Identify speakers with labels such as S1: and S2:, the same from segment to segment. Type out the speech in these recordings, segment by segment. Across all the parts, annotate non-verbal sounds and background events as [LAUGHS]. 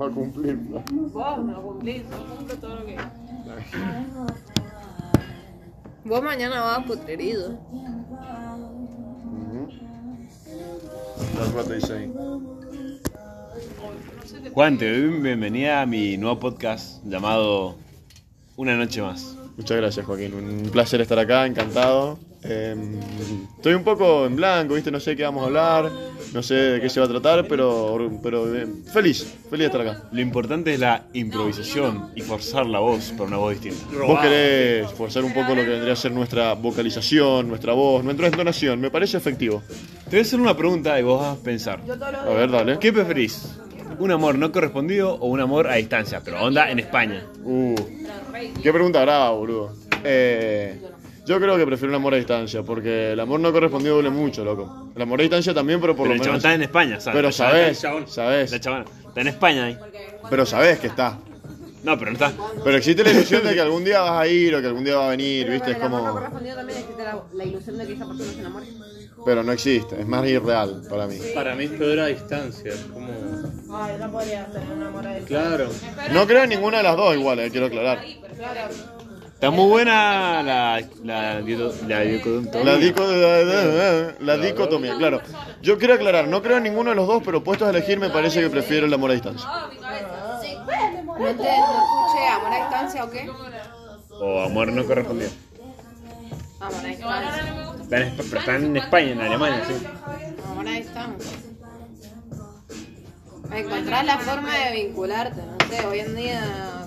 S1: Va a cumplir, ¿no?
S2: Vos no cumplís, no cumplo todo lo que. Vos mañana vas a putrerido.
S1: Ujú. Las cuatro y seis.
S3: Cuante, bienvenida a mi nuevo podcast llamado Una Noche Más.
S1: Muchas gracias, Joaquín. Un placer estar acá, encantado. Eh, estoy un poco en blanco, ¿viste? No sé qué vamos a hablar, no sé de qué se va a tratar, pero, pero eh, feliz, feliz de estar acá.
S3: Lo importante es la improvisación y forzar la voz para una voz distinta.
S1: Vos querés forzar un poco lo que vendría a ser nuestra vocalización, nuestra voz, nuestra entonación. Me parece efectivo.
S3: Te voy a hacer una pregunta y vos vas a pensar.
S1: A ver, dale.
S3: ¿Qué preferís? ¿Un amor no correspondido o un amor a distancia? Pero onda en España.
S1: Uh, qué pregunta brava, boludo. Eh, yo creo que prefiero un amor a distancia, porque el amor no correspondido duele mucho, loco. El amor a distancia también, pero por
S3: Pero el
S1: lo
S3: chabón
S1: menos...
S3: está en España, ¿sabes?
S1: Pero
S3: La chabona-
S1: sabés,
S3: el chabón.
S1: sabés.
S3: La chabona. Está en España ahí.
S1: Pero sabés que está.
S3: No, pero no está.
S1: Pero existe la ilusión de que algún día vas a ir o que algún día va a venir, ¿viste? Es
S4: el amor no
S1: como...
S4: correspondido también existe la, la ilusión de que esa persona se enamore.
S1: Pero no existe, es más irreal para mí.
S5: Para mí es peor a distancia. es Como...
S6: Ay, no podría ser una mora de
S5: Claro.
S1: No creo en ninguna de las dos igual, eh, quiero aclarar.
S3: Está muy buena la. la. dieto- la dicotomía.
S1: La, dico- la dicotomía, claro. Yo quiero aclarar, no creo en ninguno de los dos, pero puestos a elegir me parece que prefiero el amor a distancia.
S4: No te no escuché, amor a distancia o qué?
S3: O amor no correspondido.
S4: Amor a distancia.
S3: Está en Espa- pero está en España, en Alemania, sí.
S4: Amor a distancia. Encontrar la forma de vincularte, no sé, hoy en día.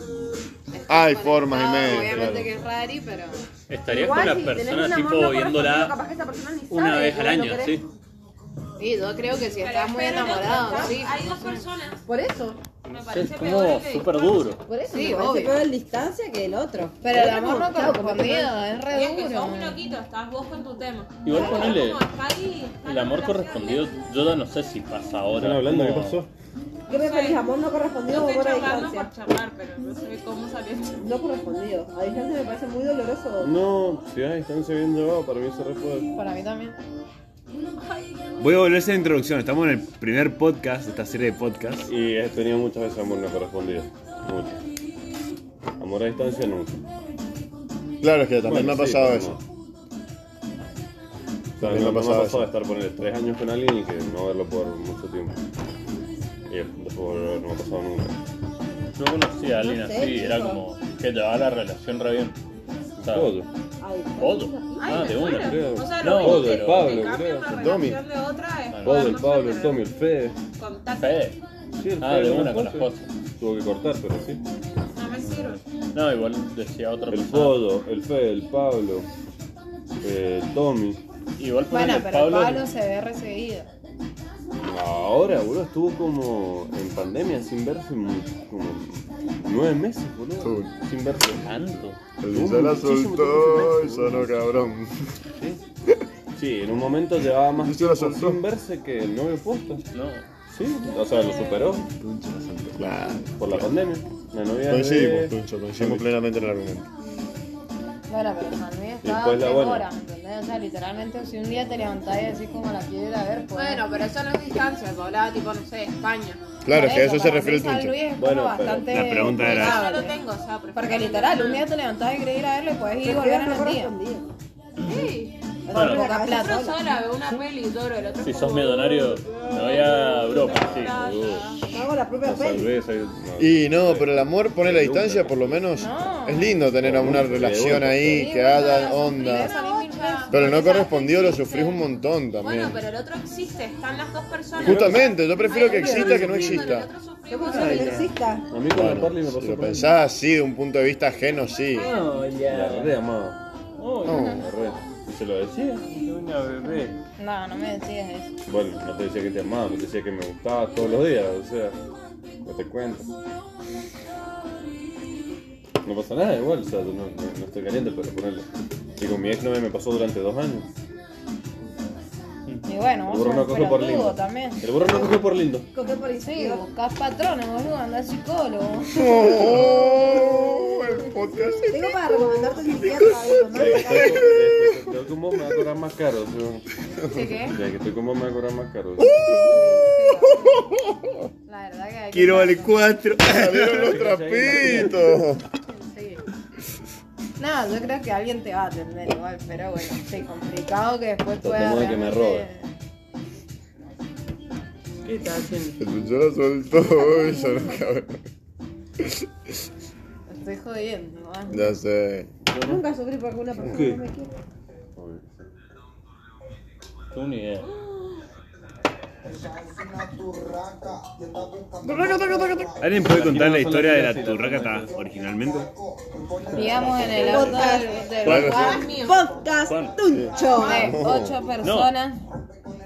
S4: estás
S1: Hay formas y
S4: conectado,
S1: medios,
S4: Obviamente
S1: claro.
S4: que es rari, pero.
S5: Estarías
S4: Igual,
S5: con la
S4: si tenés un
S5: persona
S4: amor
S5: tipo
S4: no
S5: viéndola
S4: capaz que esa persona ni sabe
S5: una vez
S4: que
S5: al
S4: vos lo
S5: año,
S4: querés.
S5: ¿sí?
S4: Sí, yo creo que si estás muy enamorado, sí.
S2: Hay dos personas.
S4: Por eso,
S5: No sé, es como súper duro.
S4: por eso. Sí,
S6: Sí, obvio.
S4: obvio.
S6: peor el distancia que el otro.
S4: Pero el amor no
S6: Chao,
S4: correspondido es
S2: Y
S4: re
S2: es que sos un
S4: duro.
S2: loquito, estás vos con tu tema.
S5: Igual ponele,
S2: Como acá y- acá
S5: el
S2: la
S5: amor
S2: relación ¿eh?
S5: correspondido, yo no sé si pasa ahora. como-
S6: ¿Qué preferís, amor no correspondido
S2: No
S6: o
S2: estoy
S6: amor a
S2: charlando por
S6: distancia?
S2: charlar, pero no sé cómo salió esto.
S6: No correspondido. A distancia me parece muy doloroso.
S7: No, si vas a distancia bien llevado, oh, para mí se refuerza.
S4: Para mí también.
S3: Voy a volver a hacer la introducción. Estamos en el primer podcast de esta serie de podcasts.
S7: Y he tenido muchas veces amor no correspondido. Mucho. Amor a distancia nunca.
S1: Claro, es que también me ha
S7: Bueno, sí,
S1: pasado
S7: pero
S1: eso.
S7: no. O sea,
S1: También
S7: no,
S1: me ha
S7: no me
S1: pasado
S7: ha pasado
S1: eso.
S7: de estar poner tres años con alguien y que no verlo por mucho tiempo. Y después volver, no me ha pasado nunca.
S5: Yo conocí a alguien
S6: No sé,
S5: así, era
S6: chico.
S5: como que llevaba la relación re bien. O sea,
S7: Todo.
S6: A distancia.
S5: Todo. Ah, de una.
S7: creo.
S2: O sea,
S5: No,
S2: lo
S7: del
S2: que
S7: Pablo,
S2: te cambia
S7: creo.
S2: una
S1: Del
S2: relación
S1: Tommy.
S2: de otra
S5: Ah,
S2: es
S7: Todo
S2: poder
S7: el
S2: no
S7: Pablo, el
S2: superar
S7: Tommy, el Fede.
S2: contacto.
S5: Fede.
S7: Sí, el
S5: Ah, de
S7: Fede,
S5: una con las
S7: José.
S5: cosas.
S7: Tuvo que cortar, pero sí.
S2: No me sirve.
S5: No, igual decía otra
S7: El
S5: persona.
S7: Fodo, el Fede, el Pablo, eh, el Tommy.
S5: Igual
S4: Bueno,
S5: ponele,
S4: pero Pablo, Pablo se ve recibido.
S7: Ahora, boludo, estuvo como en pandemia sin verse mu- como nueve meses, boludo.
S1: Uy.
S7: Sin verse.
S5: tanto.
S1: Y se la soltó y sonó cabrón.
S7: Sí. Sí, en un momento llevaba más
S1: Y se la
S7: tiempo
S1: soltó.
S7: sin verse que el novio puesto.
S5: No.
S7: Sí, o sea, lo superó
S1: Claro.
S7: por la pandemia. La novia
S1: Coincidimos,
S7: de...
S1: Tuncho, coincidimos plenamente en el argumento.
S4: Bueno, pero para mí está
S7: Después la
S4: tres
S7: buena.
S4: horas, ¿me ¿entendés? O sea, literalmente si un día te levantás y decís como la quiero ir a ver, pues...
S2: Bueno, pero eso no es distancia, yo hablaba tipo, no sé, de España.
S1: Claro, es que a eso se
S4: para
S1: refiere
S4: mí San Luis
S1: Tuncho.
S4: es como
S7: Bueno, pero
S4: bastante
S3: la pregunta era-
S2: Eso
S4: vulnerable.
S2: no lo tengo, o sea, prefiero-
S4: Ah, Porque literal, un día te levantás y querés ir a verlo y podés ir y volver
S6: Prefiero
S4: en
S6: no
S4: el día.
S6: correspondido.
S2: Sí.
S5: Bueno.
S6: Con la
S4: Poca
S6: cabeza
S4: plata.
S2: Yo
S6: sola.
S2: sola veo una peli y lloro, el otro
S5: Si
S2: es
S5: sos
S2: como-
S5: millonario, me voy a Europa, sí.
S7: Uh, boludo.
S6: Me hago la propia
S7: no
S6: peli.
S7: salvé, salvé- no.
S1: Y no, pero el amor, poner la distancia, por lo menos,
S4: No.
S1: es lindo tener una
S7: Sí,
S1: relación
S7: bueno,
S1: ahí,
S4: Sí,
S1: que
S4: bueno,
S1: haya
S4: sufrí
S1: onda.
S4: eso a mí misma.
S1: Pero no correspondido lo sufrís un montón
S2: Bueno,
S1: también.
S2: pero el otro existe, están las dos personas.
S1: Justamente, yo prefiero
S2: Hay
S1: que
S2: dos
S1: exista que no
S2: personas cuando
S1: exista.
S2: el otro sufre,
S6: ¿Qué
S2: vos
S6: pasa que no
S2: sufrís.
S6: exista?
S7: A mí con la Parly
S1: Bueno,
S7: me pasó
S1: si lo
S7: por ahí. Ah.
S1: pensás así, de un punto de vista ajeno, sí.
S5: No,
S7: La
S5: ya.
S7: re amaba.
S5: Oh,
S7: La re. ¿Y se lo decía?
S5: una bebé.
S4: No, no me decías eso.
S7: Bueno, no te decía que te amaba, no te decía que me gustaba todos los días, o sea, no te cuento. No pasa nada, igual, o sea, yo no, no- no estoy caliente, pero ponerle. Y con mi ex novia me pasó durante dos años.
S4: Y bueno,
S7: El
S4: vos
S7: burro no
S4: sos un
S7: coge por
S4: pelotudo
S7: lindo.
S4: también.
S7: El burro no coge por lindo.
S6: Coge por
S4: Sí,
S6: izquierda.
S4: buscás patrones, boludo, andás psicólogo.
S1: [LAUGHS] Oh, el podcast.
S6: Tengo para recomendarte un psiquiatra. algo, ¿no?
S7: Desde que estoy- desde que estoy con vos me va a cobrar más caro. o
S1: [LAUGHS]
S7: sea,
S4: ¿Sí qué?
S7: Desde que estoy con vos me va a cobrar más caro.
S4: La verdad que hay que
S1: Quiero el
S4: hacerlo.
S1: 4. Salieron los trapitos.
S4: Sí. No, yo creo que alguien te va a atender igual, pero bueno, sí, complicado que después pueda.
S7: Tratemos de que me
S4: realmente-
S5: ¿Qué estás haciendo?
S1: El yo lo soltó, [LAUGHS] eso no cabrón.
S4: Lo Estoy jodiendo, ¿no?
S1: Ya sé.
S6: Nunca sufrí por alguna persona que no me quiere.
S5: Tú ni idea.
S3: ¿Alguien puede contar la historia de la turracata originalmente?
S4: Digamos en el auto del, del
S1: Bueno,
S4: lugar
S1: sí.
S6: Podcast
S5: Juan.
S6: Tuncho.
S4: de ocho personas.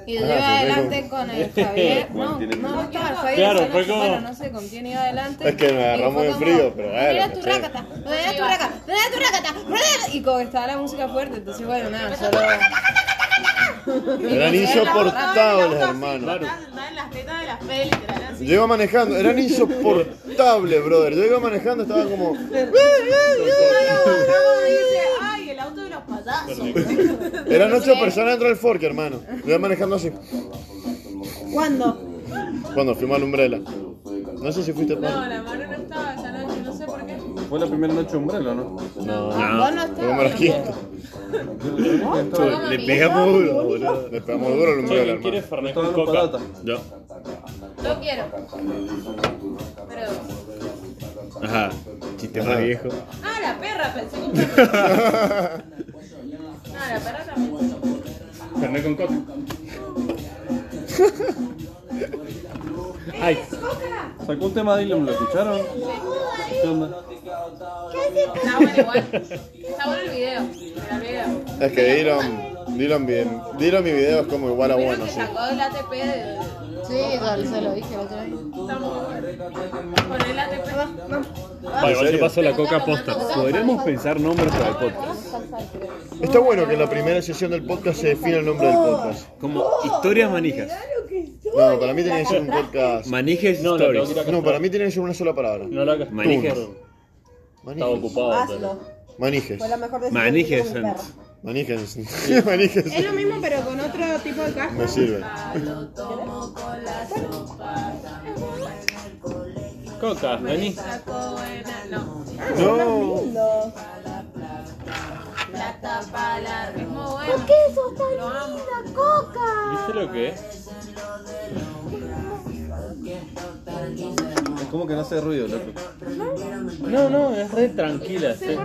S4: Y yo iba adelante con el Javier. No, no, estaba el Javier.
S5: Claro,
S4: esa
S5: fue
S4: noche,
S5: como-
S4: Bueno, no sé con quién iba adelante.
S1: Es que me agarramos
S4: Y
S1: de
S4: fue
S1: frío,
S4: como,
S1: pero
S4: "Rodea
S1: bueno,
S4: tu
S1: me sé.
S4: rácata, rodea tu rácata, rodea tu rácata, rodea- Y como que estaba la música fuerte, entonces bueno, nada, solo.
S1: Eran
S4: [LAUGHS]
S1: insoportables, hermano.
S2: Están en las tetas de las pelis, que eran así.
S1: Yo iba manejando, eran insoportables, brother. Yo iba manejando, estaba como.
S2: Luego dice, ay, el auto de los payasos.
S1: Eran ocho personas dentro del fork, hermano. Yo iba manejando así.
S6: ¿Cuándo?
S1: Cuando fuimos al umbrella. No sé si fuiste
S2: No,
S1: para.
S2: la mano no estaba esa noche, no sé por qué.
S7: Fue la primera noche umbrella, ¿no?
S4: No, vos no
S1: Yo me
S4: estabas.
S1: los quito.
S3: Le pegamos duro, boludo.
S1: Le pegamos duro al umbrella,
S5: ¿Quién quiere
S1: hermano.
S5: Fernet con coca?
S3: Yo.
S4: Yo quiero. Pero
S3: Ajá. Chiste más viejo.
S2: Ah, la perra, pensé que un perro. Ah, la perra también.
S5: Fernet con coca. Ay,
S7: Sacó un tema de Dylan, ¿lo escucharon? ¿Qué onda?
S2: Está bueno igual. Está bueno el video. El video.
S1: [LAUGHS] Es que Dylan, Dylan, bien, Dylan mi video es como igual a
S2: Vieron
S1: bueno,
S2: que
S1: sí.
S2: sacó el ATP de...
S4: sí, yo se lo dije la otra vez.
S2: Está muy bueno. Con el ATP.
S5: Vale, Ah, igual te paso la coca posta.
S3: Podríamos pensar nombres para el podcast.
S1: Está bueno que en la primera sesión del podcast se defina el nombre del podcast.
S3: Como historias manijas.
S1: No, para mí tiene que ser un podcast.
S3: Manijes
S5: No, no, tengo que
S3: stories.
S5: ir acá.
S1: No, para mí tiene que ser una sola palabra.
S5: No la hagas.
S3: Manijes.
S5: Estaba
S1: Manijes.
S5: ocupado.
S6: Hazlo.
S5: pero-
S1: Manijes.
S6: Fue la mejor decisión.
S3: Manijes
S6: que tuve con mi perro.
S1: [LAUGHS] Manijes. Manijes.
S4: Es lo mismo pero con otro tipo de caja.
S1: Me sirve.
S5: Coca, vení.
S2: Sacó buena... No.
S1: No.
S6: Lindo.
S2: La tapa larga. Es muy bueno. Lo amo.
S5: ¿Viste lo que es?
S7: Es como que no hace ruido, loco.
S5: No, no, es re tranquila. sí.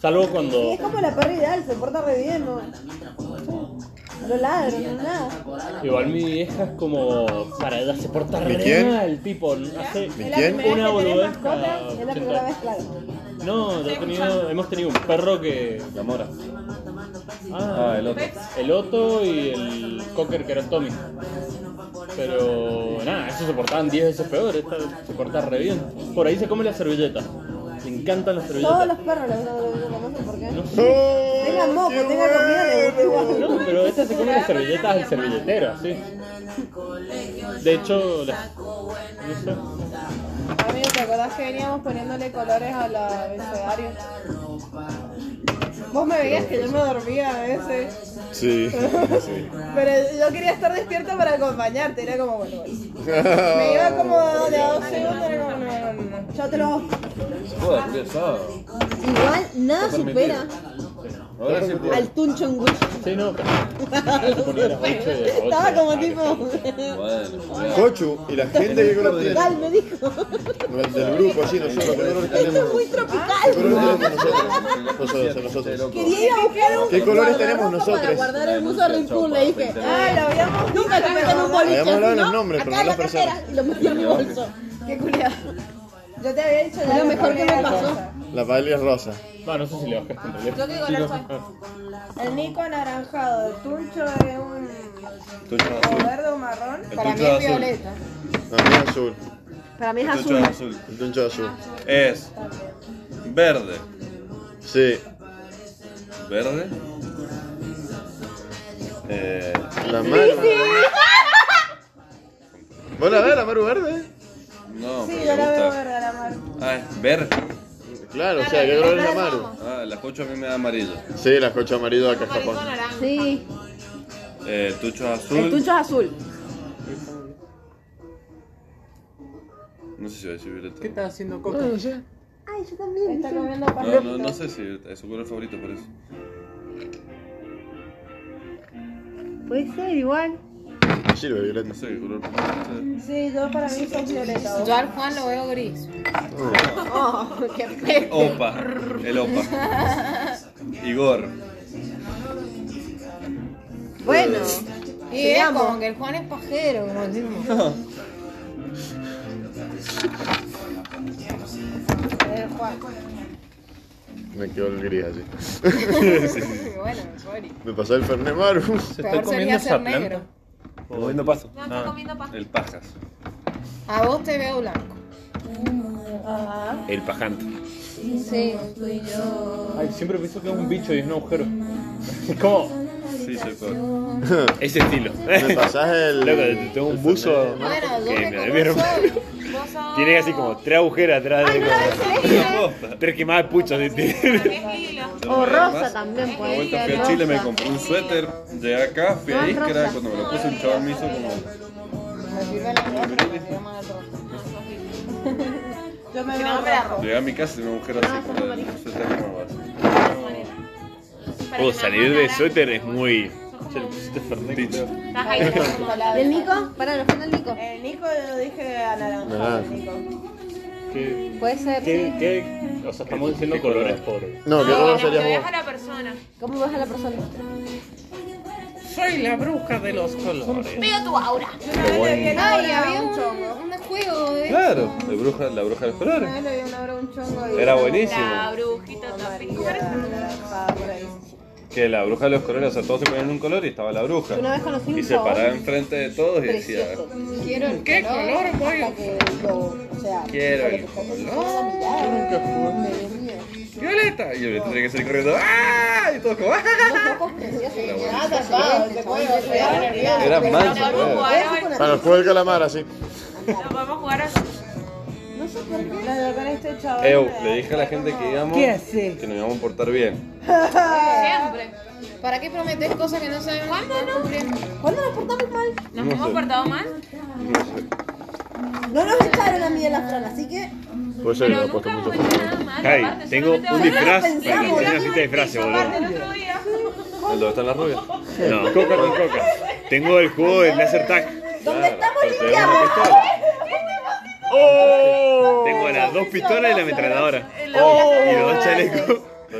S5: Salvo
S6: Y
S5: cuando.
S6: es como la perra ideal, se porta re bien, ¿no? No ladra, no nada.
S5: Igual mi vieja es como. Para ella se porta
S1: ¿Mi
S5: re
S1: quién?
S5: mal, tipo. Hace
S1: ¿Mi
S6: Es la
S1: quién?
S6: primera
S5: Una
S6: vez que tenés
S5: boludez
S6: mascota,
S5: cada
S6: es la
S5: 80.
S6: primera vez, claro.
S5: No, yo he tenido, hemos tenido un perro que.
S7: La mora.
S5: Ah, el Otto. El Otto y el Cocker que era Tommy. Pero nada, esos se portaban 10 veces peor, esta se porta re bien. Por ahí se come la servilleta. Le encantan las
S6: Todos los
S5: servilletas.
S6: perros les gustan los bebés, no sé por qué.
S5: No sé.
S1: Tenga
S6: Tengan moco, tengan comida, les gusta igual.
S5: No, pero esta se come las servilletas al servilletero, sí. De hecho, la- no sé.
S4: Amigo, ¿te acordás que veníamos poniéndole colores a la abecedario? Vos me veías que yo me dormía a veces,
S1: Sí. sí.
S4: pero yo quería estar despierta para acompañarte, era como bueno. bueno. Me iba como de a dos segundos, era como no, no, no.
S6: Yo te lo...
S7: Joder, porque es sábado.
S6: Igual, nada supera
S7: Ahora sí puedo.
S6: al tuncho en Gucci.
S5: Sí, no. Porque era ocho de ocho.
S6: Estaba como tipo...
S7: Bueno.
S1: [LAUGHS] Cochu y la gente que con la
S6: Tal, me dijo.
S1: del grupo, así nosotros, ¿qué colores tenemos?
S6: Muy
S1: ¿Qué
S6: tropical.
S1: colores tenemos nosotros? Nosotros, nosotros.
S6: Quería ir a buscar un
S1: ¿Qué colores
S6: guardarropa
S1: tenemos
S6: Para
S1: nosotros?
S6: guardar el buzo Rincón, le dije.
S4: Ah, lo habíamos
S6: Nunca lo meten en un boliche.
S1: Habíamos hablado de los
S6: ¿no?
S1: nombres, pero
S6: Acá
S1: no las
S6: en la cartera,
S1: personas.
S6: Y lo metí en mi bolso.
S4: Qué culiado.
S6: Yo te había dicho ya.
S4: Lo
S6: la
S4: mejor que me
S6: primera
S4: pasó.
S6: cosa.
S1: La paella es rosa.
S5: Bueno, no sé si le bajaste en
S2: ¿Yo
S5: realidad.
S2: qué color soy?
S6: El Nico anaranjado, el tuncho es un o verde o marrón.
S4: Para mí
S7: tuyo
S4: es
S7: azul.
S4: violeta.
S1: No, el mío es azul.
S6: Para mí es
S7: El tuyo
S6: Ah, azul.
S7: es azul.
S1: El tuncho es azul.
S7: Ah, Es verde.
S1: Sí.
S7: Verde. Eh,
S1: La mano. ¿Vos la ves, la maru verde?
S7: no,
S6: Sí,
S7: pero me
S6: yo la veo
S7: gusta.
S6: verde a la mar.
S7: Ah, es verde.
S1: Claro, o sea, ¿qué color es la maru?
S7: Ah, la cocho a mí me da amarillo.
S1: Sí, la cocha amarillo de acá en
S2: Maricón
S1: Japón.
S2: naranja.
S6: Sí.
S7: Eh, el tucho es
S6: El
S7: azul.
S6: tuncho es azul.
S7: No sé si va a decir violeta.
S5: ¿Qué estás haciendo, Coca? No, sé.
S6: Ay, yo también.
S4: Está
S6: dije,
S4: comiendo
S7: No,
S4: pajaritos.
S7: no, no sé si violeta. Es su color favorito, por eso.
S6: Puede ser igual.
S1: No sirve, Violeta.
S7: No sé qué color prefieren ustedes.
S4: Sí, yo para mí son violetas.
S2: Yo al Juan lo veo gris.
S6: Qué feo.
S7: Opa. El Opa.
S2: [LAUGHS]
S7: Igor.
S6: Bueno.
S2: Y es
S6: Sigamos.
S2: como que el Juan es pajero, como decimos. [LAUGHS]
S1: Me quedó el gris así.
S2: bueno, sorry.
S1: Me pasó el Fernet Maru.
S5: Se está
S2: Peor sería
S5: comiendo esa
S2: ser
S5: planta.
S2: negro.
S3: Está comiendo paso.
S2: No, está comiendo paja.
S7: Ah, El Pajas.
S2: A vos te veo blanco.
S4: Ajá.
S3: El pajante.
S2: Sí.
S5: Ay, siempre pienso que es un bicho y es un agujero. [LAUGHS] ¿Cómo?
S7: Sí, soy peor.
S3: Ese estilo. [LAUGHS]
S1: Me pasás el.
S3: Loco, tengo un buzo.
S2: Bueno, yo
S3: Que
S2: te
S3: me
S2: conozco.
S3: debieron-
S2: [LAUGHS] Vos sos...
S3: Tiene así como tres agujeros atrás de
S7: Posta.
S3: como. Tres quemadas de puchos de tiene.
S2: Es lila.
S6: O rosa
S7: Además,
S6: también
S7: Una
S6: puede
S7: vuelta
S6: ser.
S7: fui a Chile, me
S6: rosa.
S7: compré un suéter. Llegué acá, fui a
S6: No,
S7: Iscra.
S6: rosa.
S7: Cuando me lo puse, un chaval me hizo como.
S4: Yo me
S2: Tiene
S4: veo
S2: nombre de
S4: rojo.
S2: arroz.
S7: Llegué a mi casa y tenía un agujero
S6: Ah,
S7: así. Como el suéter como así.
S3: Oh, salir de suéter es muy. Ya le pusiste Fernet,
S7: Dicho.
S3: creo.
S2: Estás ahí, como la-
S6: ¿Y el Nico? Para, lo fue el Nico.
S4: El Nico yo dije anaranjado,
S1: Naranja.
S4: el Nico.
S5: ¿Qué,
S6: Puede ser,
S5: qué,
S6: sí.
S5: qué- O sea, estamos diciendo
S7: ¿Qué color
S5: colores
S7: es?
S5: pobres.
S1: No, qué
S2: No,
S1: raro
S2: que
S1: sería
S2: veas a
S1: vos.
S2: la persona.
S6: ¿Cómo vas a la persona?
S5: Soy la bruja de los colores.
S2: Veo tu aura.
S4: Yo una vez le vi en
S2: Ay,
S4: aura
S2: había
S4: un
S2: un,
S4: chongo.
S2: un juego de...
S7: Claro, la bruja, la bruja de los colores.
S6: Ah,
S4: Una vez le vi en aura un chongo y...
S7: Era buenísimo.
S2: La brujita también. ¿Cómo era?
S4: Anaranjado, por ahí.
S7: Que la bruja de los colores, o sea, todos se ponían en un color y estaba la bruja.
S6: Una vez conocí
S7: Y
S6: un
S7: se paraba
S6: chabón
S7: enfrente de todos y decía,
S6: precioso.
S2: Quiero el ¿Qué color pues? voy a...
S6: Que lo, o sea,
S7: quiero el color violeta. Y Violeta tenía que salir corriendo, ¡ah! Y todos como, ¡ah!
S6: Ah, tapado, ese chabón se veía nervioso.
S7: Era manso,
S2: La podemos
S7: boludo.
S2: jugar
S6: Eso con
S2: ahora.
S6: la-
S1: Para el juego del calamar, así.
S2: La podemos jugar así.
S6: No sé por qué.
S4: No, yo con este chaval...
S7: Eu,
S4: me
S7: le dije a la gente que íbamos, que nos íbamos a portar bien.
S2: Siempre. ¿Para qué prometes cosas que no sabemos? ¿Cuándo no?
S6: ¿Cuándo nos portamos mal?
S2: ¿Nos
S7: No
S2: hemos
S7: sé.
S2: portado mal?
S6: No nos echaron a mí de la frana, así que
S1: Puede ser,
S2: Pero
S1: lo puesto
S2: nunca hemos
S1: mucho.
S2: hecho nada mal.
S3: Ay,
S2: aparte,
S3: tengo
S2: solamente
S3: un
S2: ahora-
S3: disfraz para que
S6: pensamos,
S3: me una
S6: ¿verdad?
S3: fiesta de disfraces,
S2: Aparte, el
S3: boludo.
S2: otro día.
S7: ¿Dónde están las rubias?
S3: No, coca con coca. Tengo el juego de laser tag.
S6: donde estamos
S7: pero tenemos
S6: limpiamos.
S7: una pistola.
S5: ¡Oh!
S3: Tengo las dos pistolas y la ametralladora.
S2: en la-
S3: Y los dos chalecos. Yo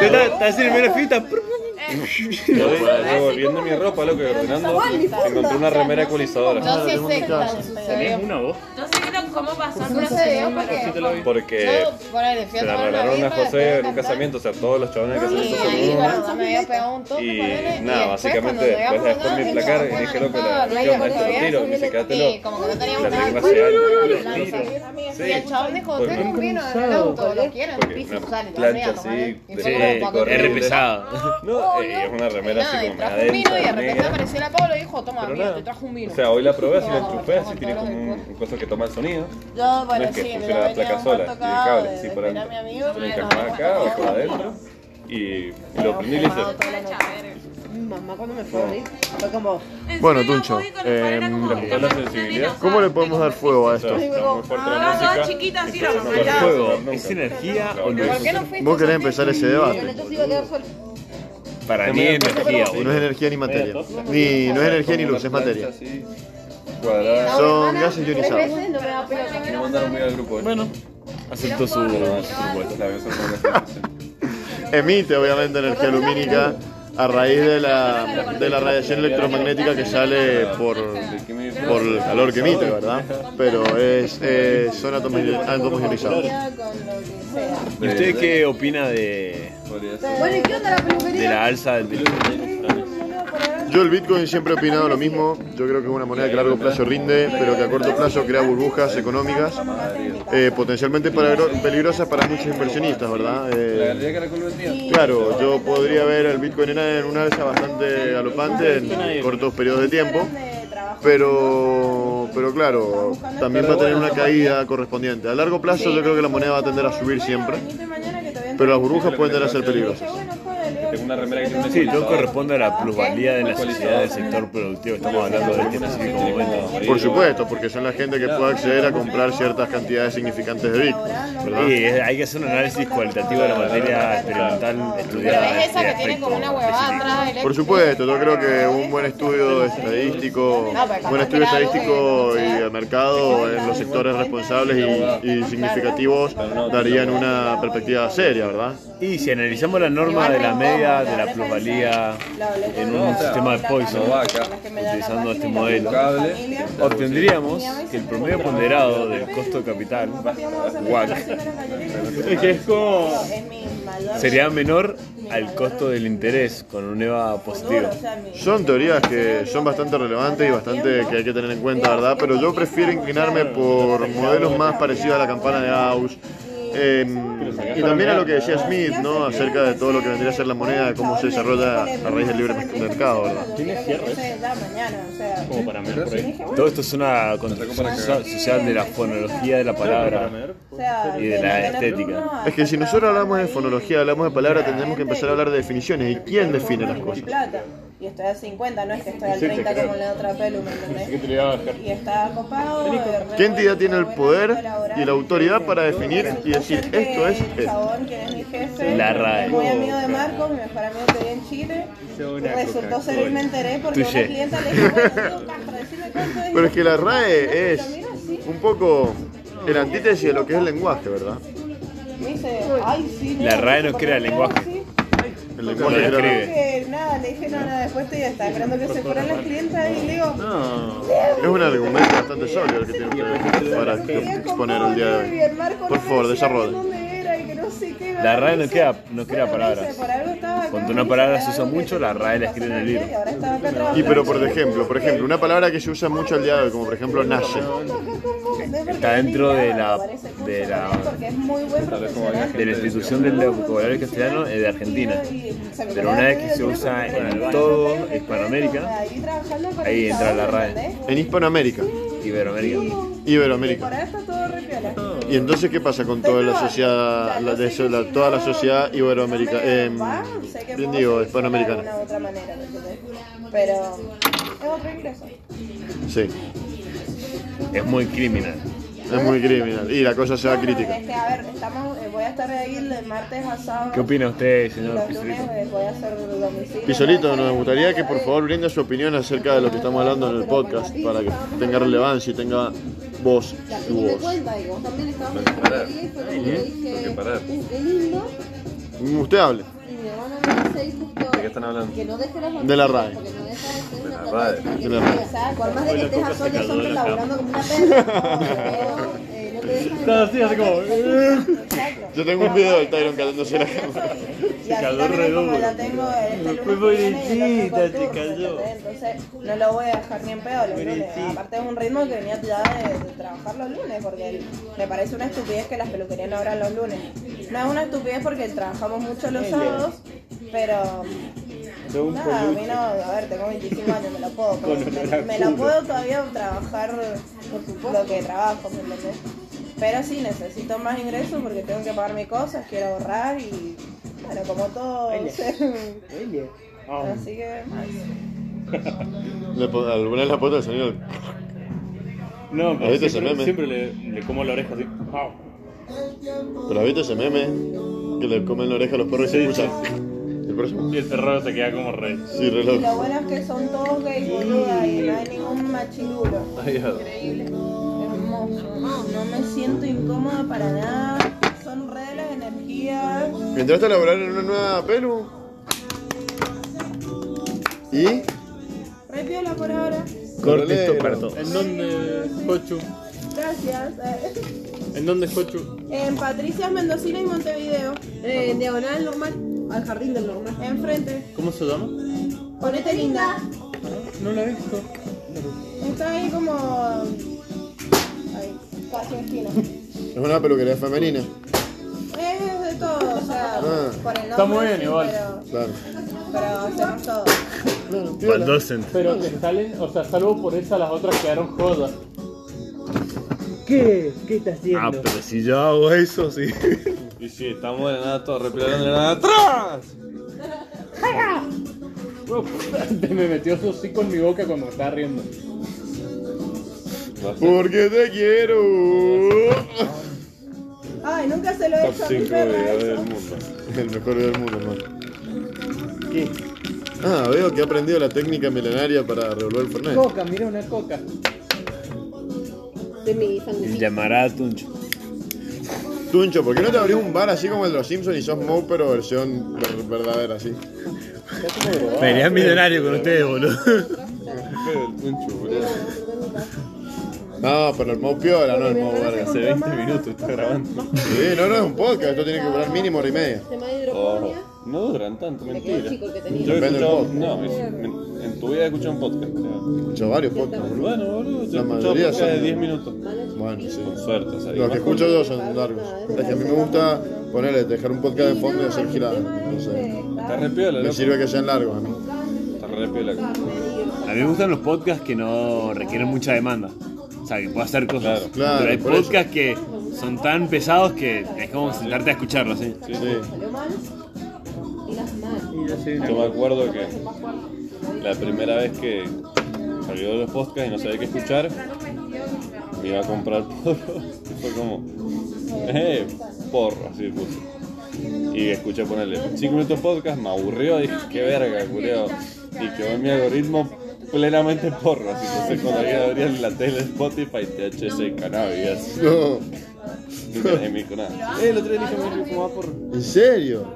S3: estaba estaba haciendo la primera fiesta.
S7: Yo volviendo mi ropa, loco, y ordenando, encontré una remera ecualizadora.
S2: No sé
S1: tengo mi
S2: exacto
S1: casa.
S2: cómo
S5: ¿Tenés
S2: sucedió.
S5: una voz?
S2: No sé no- cómo pasó el
S6: No sé,
S2: proceso,
S6: ¿por
S2: pero.
S6: qué?
S5: Te la doy.
S7: Porque
S2: Yo, ponele, fui a
S7: se la
S2: tomar una
S7: regalaron a
S2: birra,
S7: José
S2: después
S7: en
S2: de
S7: un
S2: cantar,
S7: casamiento, o sea, todos los chabones del
S2: Y
S7: casamiento se
S2: ahí,
S7: unieron.
S2: bueno, me había pegado un toque,
S7: Y
S2: ponele,
S7: nada, básicamente después de después me placar, dije, loco, la- ¿qué onda? Esto lo tiro, me dice,
S2: Sí,
S7: quédatelo.
S2: como que no teníamos
S7: La
S2: nada.
S7: tengo hace años.
S2: Y el chabón dijo,
S7: Porque-
S2: tengo un vino en el auto, lo quiero en el
S7: porque
S2: piso,
S7: una
S2: sale,
S7: plancha
S2: también,
S7: así,
S2: ¿vale? Y
S7: de
S2: fue
S7: plástico,
S2: como para
S7: horrible.
S3: Eh, R pesado.
S7: No, eh, es una remera
S2: Oh, nada,
S7: así
S2: y
S7: como
S2: trajo un vino y de
S7: adentro,
S2: repente
S7: negra.
S2: apareció la Pablo y dijo, toma,
S7: Pero
S2: mira,
S7: nada.
S2: te trajo un vino.
S7: O sea, hoy la probé, así la
S2: No,
S7: enchufé, así
S2: no,
S7: tiene
S2: no,
S7: como
S2: no,
S7: un, un coso que toma el sonido.
S4: Yo, bueno,
S7: No es que
S4: sí,
S7: funciona
S4: pero
S7: la
S4: venía
S7: placa
S4: un
S7: sola,
S4: poco
S7: tiene cable,
S4: de
S7: sí, por
S4: esperar a
S7: adentro.
S4: mi amigo.
S7: Lo encajás acá, o por adentro. Y y lo prendí y le hice.
S2: Ah,
S4: Mamá, cuando me fue a abrir, fue como...
S1: Bueno, Tuncho, eh,
S7: ¿Está la sensibilidad?
S1: ¿Cómo le podemos dar fuego a
S7: O sea,
S1: esto?
S7: está muy fuerte
S2: Ah,
S7: la
S2: toda
S7: música.
S2: chiquita, así
S7: Entonces
S2: la
S7: no
S2: mamá.
S7: puede ser
S3: Fuego,
S7: nunca.
S3: ¿es energía
S7: Claro.
S3: o no
S2: ¿Por
S3: es?
S2: qué no fuiste?
S1: Vos querés empezar ese debate.
S6: Yo se iba a quedar solo.
S3: Para mí es energía,
S1: No es
S3: boludo.
S1: energía ni materia. Ni, no es energía ni luz, es materia.
S7: Así, cuadrada.
S1: Son gases
S6: Tres
S1: ionizados.
S6: veces no me da pelota.
S7: Me mandaron muy al grupo.
S3: Bueno,
S2: eh.
S3: aceptó su
S7: Bueno,
S3: propuesta.
S7: la veo solo una vez.
S1: Emite, obviamente, energía lumínica a raíz de la, de la radiación electromagnética que sale por,
S7: ¿De qué me dices?
S1: por el calor que emite, ¿verdad? Pero es, eh, son átomos io- átomos ionizados.
S4: Con lo que sea.
S3: ¿Y usted qué opina de,
S7: Podría ser.
S6: Bueno, ¿y qué onda la
S3: de
S6: peluquería?
S3: la alza del
S1: Yo el Bitcoin siempre he opinado lo mismo. Yo creo que es una moneda que a largo plazo rinde, pero que a corto plazo crea burbujas económicas, eh, potencialmente peligro- peligrosas para muchos inversionistas, ¿verdad?
S7: La
S1: Eh,
S7: galería Caracol vendía.
S1: Claro, yo podría ver al Bitcoin en- en una alza bastante galopante en cortos periodos de tiempo,
S4: De trabajo.
S1: pero, pero claro, también va a tener una caída correspondiente. A largo plazo yo creo que la moneda va a tender a subir siempre,
S4: Venite mañana que te voy a
S1: pero las burbujas pueden tender a ser peligrosas.
S4: Bueno, joder, Leo,
S7: Tengo
S5: una remera que tiene un
S3: Sí, todo
S5: descuento.
S3: corresponde a la plusvalía de la sociedad del sector productivo. Estamos hablando de este específico momento.
S1: Por supuesto, porque son la gente que puede acceder a comprar ciertas cantidades significantes de Bitcoin, ¿verdad?
S3: Sí, es- hay que hacer un análisis cualitativo de la materia experimental
S2: Pero
S3: estudiada. este
S2: es esa
S3: de
S2: que tiene
S3: aspecto
S2: como una huevada atrás.
S1: Por
S2: eléctrica.
S1: supuesto, yo creo que un buen estudio estadístico, un buen estudio estadístico y de mercado en los sectores responsables y, y significativos darían una perspectiva seria, ¿verdad?
S3: Y si analizamos la norma de la media de la plusvalía en un sistema de Poisson, utilizando este modelo,
S7: Cable.
S3: obtendríamos que el promedio ponderado del costo de capital, WACC,
S5: Es que es como.
S3: sería menor al costo del interés con un EVA positivo.
S1: Son teorías que son bastante relevantes y bastante que hay que tener en cuenta, ¿verdad? Pero yo prefiero inclinarme por modelos más parecidos a la campana de Gauss. eh, y también a lo que decía Smith, ¿no? Acerca de todo lo que vendría a ser la moneda, de cómo se desarrolla a raíz del libre mercado, ¿verdad?
S5: Tiene cierre. Como para mí, por ahí.
S3: Todo esto es una construcción so- social de la fonología de la palabra y de la estética.
S1: Es que si nosotros hablamos de fonología, hablamos de palabras, tendremos que empezar a hablar de definiciones. ¿Y quién define las cosas?
S4: plata. Y estoy a 50, no es que estoy al
S5: Sí, te
S4: 30
S5: creo.
S4: como en la otra pelu, ¿me
S5: Así que
S4: entendés?
S5: te le voy a bajar.
S4: Y está copado.
S1: ¿Qué entidad tiene el poder y la autoridad para definir y decir esto es
S4: El
S1: esto?
S4: chabón, que es mi jefe,
S3: La RAE.
S4: es muy amigo de Marco, mi mejor amigo que vive en Chile. Resultó ser y me enteré porque
S3: Touché.
S4: una clienta le dijo, bueno, tío, Castro, decime cuánto es.
S1: Pero es que la RAE
S4: No,
S1: es
S4: pero mira, sí.
S1: un poco el antítesis de lo que es el lenguaje, ¿verdad?
S4: Me dice, ay, sí.
S3: La
S4: no,
S3: RAE no
S4: porque
S3: crea
S4: no
S3: lenguaje.
S4: sí.
S1: El
S3: Lo
S1: lenguaje
S3: describe.
S1: era-
S4: Que nada, le dije, no, nada, después te estaba esperando que se fueran las clientas y le digo,
S1: es un argumento bastante sólido el que tiene usted para exponer el día de hoy. Por favor, desarrolle.
S3: La
S4: La
S3: RAE no queda- no crea palabras. Cuando
S4: Cuando
S3: una palabra se usa mucho, la RAE la escribe en el libro.
S1: Y pero por ejemplo, por ejemplo, una palabra que se usa mucho al día de hoy, como por ejemplo nace.
S3: Está dentro de la- de la- de la institución del vocabulario castellano es de Argentina. Pero una vez que se usa en todo Hispanoamérica, ahí entra la RAE,
S1: En Hispanoamérica,
S3: Iberoamérica.
S1: Iberoamérica.
S4: Para esto todo re piola.
S1: Y entonces, ¿qué pasa con toda la sociedad, la de eso- la- toda la sociedad iberoamericana?
S4: Va, ah, sé
S1: bien
S4: que puedo
S1: digo,
S4: utilizar De
S1: hispanoamericana.
S4: alguna u otra manera, ¿me entendés? Pero es otro ingreso.
S1: Sí,
S3: Es muy criminal.
S1: es muy criminal. Y la cosa se va
S4: Bueno,
S1: crítica.
S4: Es que, a ver, estamos, eh, voy a estar ahí el martes a sábado.
S3: ¿Qué opina usted,
S4: y
S3: señor
S4: Los
S3: Pizarrito?
S4: lunes eh, voy a hacer domicilio.
S1: Pisolito, nos gustaría que por favor brinde su opinión acerca de lo que estamos hablando en el podcast para que tenga relevancia y tenga voz, su voz.
S7: Porque parar.
S1: Usted hable.
S7: ¿De qué están hablando?
S1: De la RAE.
S7: De la RAE.
S1: De la RAE.
S6: Por más de que estés a sol y sombra laburando como una perra,
S1: [LAUGHS]
S6: pero, eh, no te dejan
S5: Está así, así como. eh.
S1: Yo tengo un video del Tyron calándose la cámara.
S4: Y así
S5: cayó
S4: también es
S5: re
S4: como
S5: duro.
S4: la tengo este lunes.
S5: Fue
S4: que viene y el
S5: pobrecita,
S4: otro
S5: te
S4: turno,
S5: cayó.
S4: ¿entendés? Entonces no lo voy a dejar ni en pedo los lunes.
S5: Pobrecita.
S4: Aparte es un ritmo que venía ya de, de trabajar los lunes, porque el- me parece una estupidez que las peluquerías no abran los lunes. No es una estupidez porque trabajamos mucho los sábados, pero
S5: De un
S4: Nada, a
S5: peluche.
S4: mí no, a ver, tengo 25 años, me lo puedo, pero
S5: Con olor
S4: me,
S5: a
S4: me lo
S5: culo.
S4: puedo todavía trabajar lo que trabajo, ¿me entendés? Pero sí, necesito más ingresos porque tengo que pagar mis cosas, quiero ahorrar y, bueno, como todo,
S5: Ah.
S4: [LAUGHS] así que...
S1: Le po- Alguna vez la foto del sonido.
S5: No,
S1: A
S5: pero
S1: veces se
S5: siempre,
S1: meme.
S5: siempre le, le como la oreja así. Au.
S1: Pero ¿viste ese meme que le comen la oreja a los perros y se
S5: Sí,
S1: escucha. El próximo.
S5: Y el perro se queda como rey.
S1: Sí,
S4: Y
S1: reloj.
S4: lo bueno es que son todos gays, boluda, y no hay ningún machirulo. Hermoso. No me siento incómoda para nada. Son re de las energías.
S1: ¿Entraste a laborar en una nueva pelu? ¿Y?
S4: Re piola por ahora.
S3: Corte
S1: Pero
S3: esto
S1: le-
S3: para todos.
S5: ¿En dónde, Cochu?
S4: Gracias.
S5: ¿En dónde, Cochu?
S4: En Patricias Mendocino y Montevideo.
S6: Eh, en diagonal normal al jardín del normal.
S4: Enfrente.
S5: ¿Cómo se llama? Ah,
S4: Ponete linda.
S5: No la he visto.
S4: Está ahí como. Ahí, casi esquina.
S1: Es una peluquería femenina.
S4: Es de todo, o sea,
S1: Ah.
S4: por el nombre.
S5: Está muy bien,
S4: sí,
S5: igual.
S4: Pero,
S1: Claro.
S4: pero hacemos todo.
S1: Claro, piola.
S3: Baldocent.
S5: Pero que salen, o sea, salvo por esa, las otras quedaron jodas.
S8: ¿Qué? ¿Qué estás
S3: Ah,
S8: haciendo?
S3: pero si yo hago eso, sí.
S7: Y si estamos de nada todos, replegando de nada atrás.
S5: ¡Pega! [LAUGHS] Te me metió su hocico en mi boca cuando me estaba riendo.
S1: Porque te quiero. [LAUGHS]
S6: Ay, nunca se lo he
S7: Top
S6: hecho a
S7: 5
S6: mi perra. eh.
S7: videos del
S6: eso.
S7: mundo.
S1: El mejor video del mundo, hermano.
S5: ¿Qué?
S1: Ah, veo que ha aprendido la técnica milenaria para revolver el Fernet.
S5: Coca, mira una coca.
S8: De mi sanguchito.
S3: Llamará a Tuncho.
S1: Tuncho, ¿por qué no te abrís un bar así como el de los Simpsons y sos Moe pero versión ver- verdadera así?
S3: Sería millonario con ustedes, boludo.
S7: Pero el tuncho, boludo.
S1: No, pero el Moe piola, no el Moe verga.
S7: Hace 20 minutos está grabando.
S1: Sí, no, no es un podcast, esto tiene que durar mínimo hora y media.
S8: Tema de
S7: Oh,
S8: hidroponía.
S7: no duran tanto, mentira.
S8: chico que tenía.
S7: Yo he
S1: Depende del
S7: escuchado,
S1: podcast.
S7: no, es- men- en tu vida he escuchado un podcast.
S1: He
S7: creo.
S1: escuchado varios podcasts, boludo.
S7: Bueno, boludo, yo
S1: La
S7: he escuchado
S1: mayoría
S7: podcast de
S1: son-
S7: 10 minutos.
S1: Bueno, sí.
S7: Con suerte, o sea,
S1: Los que
S7: más con-
S1: escucho yo son largos. Es que a mí me gusta ponerle, dejar un podcast de fondo y hacer giradas. Entonces,
S7: Está re piola,
S1: me
S7: loco.
S1: sirve que sean largos a mí. [LAUGHS]
S7: Está re piola.
S3: A mí me gustan los podcasts que no requieren mucha demanda. O sea, que puedo hacer cosas.
S7: Claro,
S1: claro,
S3: Pero hay
S1: por eso.
S3: podcasts que son tan pesados que es como sentarte a escucharlos, ¿sí?
S1: Sí.
S8: Salió mal. Y las mal.
S7: Yo me acuerdo que la primera vez que salió de los podcasts y no sabía qué escuchar, me iba a comprar [LAUGHS] porro. Y fue como, eh, porro, así puse. Y escuché ponerle 5 minutos podcast, me aburrió, dije, qué verga, curioso. Y quedó en mi algoritmo plenamente porro, así que cuando alguien abría la tele de Spotify, THC, [LAUGHS] cannabis.
S1: No,
S7: Nunca dejé mi con nada. Eh, el otro día dije, me fumaba porro.
S1: ¿en serio?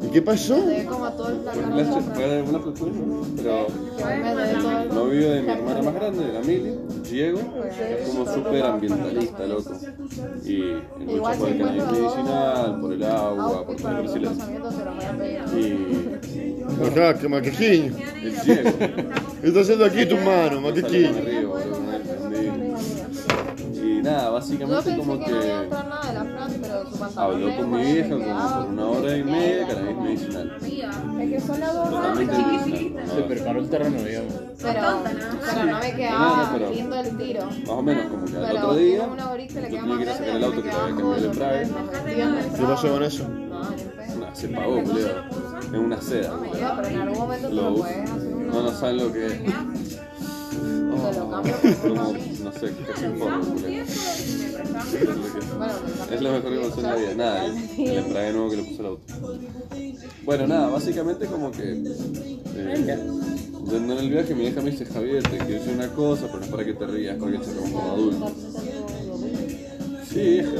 S1: ¿Y qué pasó?
S6: Como todo el
S7: Por clase, fue de una cultura, pero...
S6: plan.
S7: No vivo de mi hermana más grande, de la Mili, Diego, que es como súper ambientalista, loco. Y él lucha por el cannabis medicinal, por el
S6: Ah,
S7: agua, pues, por la resiliencia. Y
S1: Ajá, que maquequiño.
S7: el Diego,
S1: ¿Qué está haciendo aquí tu mano,
S7: no sale
S1: maquequiño?
S7: para arriba, boludo, no entendí. Y nada, básicamente como que
S6: nada de la Fran, pero su pues,
S7: habló con mi vieja como por una hora y media de cannabis medicinal. Totalmente medicinal.
S5: Se
S7: ¿no?
S5: preparó el terreno, digamos.
S6: Pero, pero no me
S7: No,
S6: quedaba
S7: no, pero-
S6: lindo el tiro.
S7: Más o menos, como que al
S6: Pero
S7: otro día
S6: tiene una horita,
S7: yo
S6: le queda
S7: tenía que ir a
S6: más
S7: sacar el
S6: grande,
S7: auto que
S6: me
S7: te había
S6: queda
S7: cambiado el
S6: joya,
S7: frag.
S6: me queda más
S1: ¿Qué pasó con eso?
S6: No, ni pedo.
S7: Nah, se pagó, boludo. Es una seda.
S6: Boludo, pero en algún momento te
S7: Lo
S6: lo
S7: uso.
S6: puedes hacer una...
S7: No, no saben lo que es.
S6: Te lo
S7: Oh,
S6: cambio por
S7: como,
S6: uno.
S7: no sé, qué es un porro, boludo.
S6: Bueno, me cambio.
S7: Es lo mejor que pasó en la vida. Nada, el el embrague nuevo que le puso el auto. Bueno, nada, básicamente como que. Eh, yendo en el viaje, mi hija me dice: Javier, te quiero decir una cosa, pero no es para que te rías, porque chocamos como adultos. Sí, hija.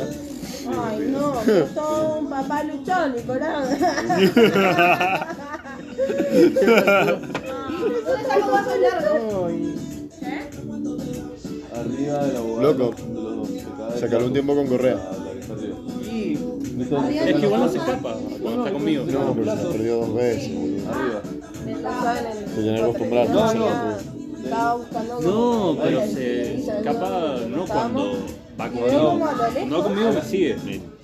S4: Ay, no, sos un papá luchón, Nicolás.
S5: [LAUGHS]
S7: Arriba de la abogada.
S1: Loco.
S7: de los- de cada
S1: Sacalo un tiempo con correa.
S7: La que está arriba.
S5: Y
S7: De todo-
S5: es que igual no se escapa cuando está conmigo.
S1: No, pero se perdió dos veces, boludo.
S7: Arriba.
S1: Se tiene que acostumbrar.
S7: No, no.
S6: Estaba buscando...
S5: No, pero se escapa no cuando va conmigo. Cuando va conmigo me sigue.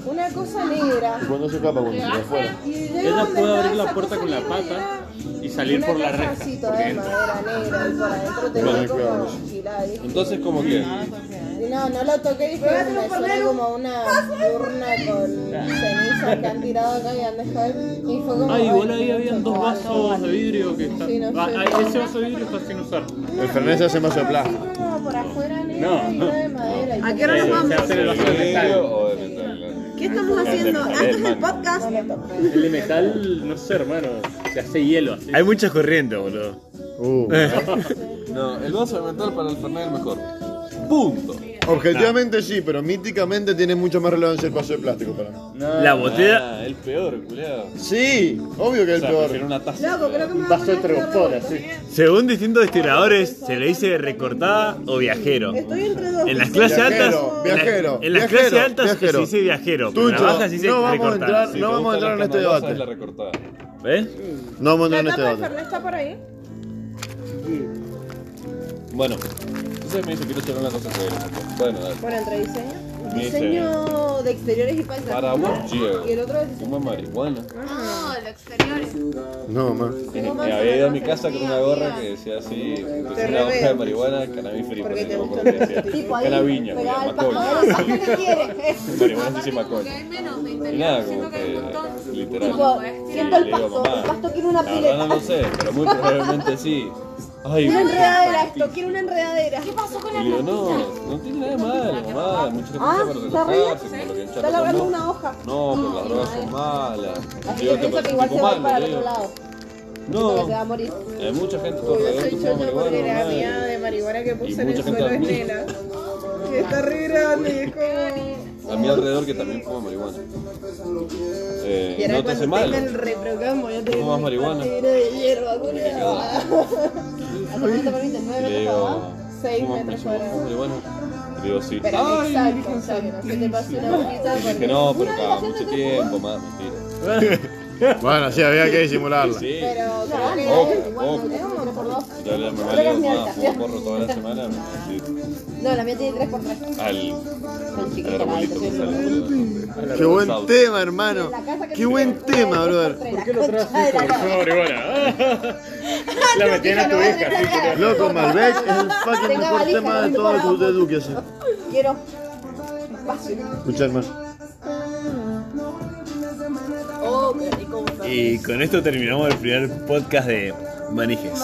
S6: Una cosa negra.
S1: ¿Y cuándo se escapa? Cuando se va afuera.
S6: Y llega
S5: Ella
S6: donde
S5: puede
S6: está
S5: abrir la
S6: esa
S5: puerta
S6: cosa
S5: con la
S6: negra,
S5: pata y salir
S6: Una
S5: por la reja.
S6: casacito
S5: Porque
S6: de
S5: entra.
S6: madera negra y por adentro
S1: Vale,
S6: tenía
S1: cuidado.
S6: como mochila. y-
S7: Entonces, como que.
S6: y No, no lo toqué y fue me suena como una urna con cenizas que han tirado acá y han dejado. Y fue como.
S5: Ah, igual
S6: ay,
S5: ahí habían dos
S6: chocó algo.
S5: vasos de vidrio que
S6: Ah, Sí, no
S5: están.
S6: sé.
S5: Ah, ah, ese vaso de vidrio está sin usar.
S1: El Fernet se hace más de
S6: Así
S1: plástico.
S6: como por afuera
S5: No,
S6: negra y
S5: no.
S6: una de madera. y
S8: ¿A
S6: yo-
S8: qué hora nos
S5: Eh, Se
S8: vamos?
S5: hace el vaso de metal.
S7: o de
S6: Eh,
S7: metal? Eh,
S8: ¿Qué estamos haciendo?
S7: Dale,
S8: Antes del
S7: man.
S8: podcast.
S5: El de metal, no sé, hermano. Se hace hielo así.
S3: Hay muchas corrientes, boludo.
S1: Uh.
S7: No, el vaso de metal para el Fernet es el mejor. Punto.
S1: Objetivamente sí, pero míticamente tiene mucha más relevancia el vaso de plástico para mí.
S3: La botella.
S7: Ah, el peor, culiado.
S1: Sí, obvio que
S7: O
S1: es el
S7: sea, prefiero
S1: peor.
S7: una taza.
S6: Loco, creo que me voy
S5: Un
S6: a
S5: vaso de
S6: poner
S5: trofón, así.
S3: Según distintos destiladores, se le dice recortada o viajero.
S6: Estoy entre dos.
S1: [LAUGHS]
S3: En las clases altas,
S1: Viajero,
S3: en la-
S1: viajero,
S3: en las
S1: viajero,
S3: clases altas
S1: viajero.
S3: se dice viajero, pero en las
S1: Tuncho,
S3: bajas se dice
S1: no vamos a
S3: recortada.
S1: entrar, no vamos a entrar en este
S7: Es la
S1: debate.
S7: recortada.
S3: ¿Ves?
S1: No vamos a
S6: ¿La
S1: entrar en este
S6: tapa del
S1: debate.
S6: Fernet está por ahí?
S7: Bueno, entonces me dice, quiero hacer una cosa seria. Bueno, dale.
S6: Bueno, entre diseño.
S7: Me dice,
S8: Diseño de exteriores y paisajes.
S7: para vos, Diego.
S6: Y el otro es.
S7: Fuma marihuana.
S2: No, lo que exteriores.
S1: No, más.
S7: Y había ido a mi casa con una gorra que decía así, entonces una hoja de marihuana, cannabis free, porque no me acuerdo qué decía.
S6: Tipo ahí,
S7: Cannabiña,
S6: pegada al
S7: Macoy.
S6: pajarito, ¿qué le quieres?
S7: [LAUGHS] Marihuana sí Macoy.
S2: Porque hay menos de
S7: Y
S2: interior.
S7: nada,
S2: siento
S7: como
S2: que hay un
S7: que eh,
S2: montón.
S6: Tipo,
S7: literal.
S6: siento el
S7: le digo,
S6: pasto,
S7: "Mamá,
S6: el pasto quiere una
S7: La verdad
S6: pileta.
S7: no lo sé, pero muy probablemente sí. Ay,
S6: Quiero una enredadera
S7: y
S6: esto, quiero una enredadera.
S2: ¿Qué pasó con
S7: le
S2: la
S7: digo, no,
S2: plantita?
S7: no tiene nada de malo, mamá. Mucha gente
S6: Ah,
S7: para
S6: ¿está
S7: relajarse, como lo que en
S6: Está
S7: Chaco
S6: labrando
S7: son,
S6: una hoja.
S7: No, pero las drogas son malas.
S6: Así
S7: Yo
S6: que
S7: te
S6: piensa
S7: parece
S6: que igual se
S7: tipo
S6: va a ir
S7: malo,
S6: para el
S7: le
S6: otro
S7: digo.
S6: lado. Piensa que se va
S7: No,
S6: a morir.
S7: hay mucha gente a tu
S4: Yo
S7: alrededor que
S4: soy
S7: fuma
S4: chocha porque la
S7: marihuana.
S4: mía
S7: madre.
S4: de marihuana que
S7: Y
S4: puse en el
S7: mucha gente
S4: suelo es
S7: también.
S4: nena. Y está re grande y es como.
S7: A mi alrededor que también fuma marihuana.
S4: Y
S7: Eh,
S4: ahora
S7: no te hace
S4: cuando tenga el
S7: mal.
S4: reprograma voy a tener
S7: Fumas
S4: mi
S7: marihuana.
S4: partidero de hierba,
S7: [LAUGHS]
S4: culiao.
S6: ¿Hasta cuánto te permite? ¿Nueve
S7: Le
S6: metros
S7: digo,
S6: para
S4: Seis
S7: ¿fumas
S4: metros
S7: marihuana? ¿Fumas marihuana? Le digo, sí.
S4: Pero
S7: Ay,
S4: exacto, o sea, que no se te pase una boquita
S7: Y dije,
S4: porque.
S7: no, pero cada mucho tiempo, más mentira.
S1: Bueno, sí, había que disimularla.
S7: Sí,
S4: Pero creo que-
S7: obvio, obvio.
S6: abajo? Por dos.
S7: Yo le mamá
S6: Pero
S7: le
S6: es
S7: digo,
S6: mi
S7: mamá,
S6: alta.
S7: fumo porro toda la semana. sí,
S6: No, la mía tiene tres por
S7: Al
S6: tres. Son
S7: al
S6: chiquitas.
S7: arbolito que sale. boludo.
S1: Qué buen tema, hermano.
S6: La casa que
S1: Qué
S6: te
S1: buen
S6: queda,
S1: tema,
S6: tres por
S1: brother.
S6: tres,
S5: ¿Por
S6: la
S5: qué
S4: [LAUGHS]
S5: lo
S6: concha de la
S5: trajiste? Por
S6: lora.
S5: favor, La metí en tu hija, sí, quería-
S1: Loco, Malbec es el fucking
S6: Tenga
S1: mejor
S6: valija,
S1: tema de
S6: no
S1: todo
S6: importa.
S1: tu de Duque. así.
S6: Quiero espacio.
S1: Escucha, hermano.
S6: Oh, qué rico.
S3: Y con esto terminamos el primer podcast de Manijes.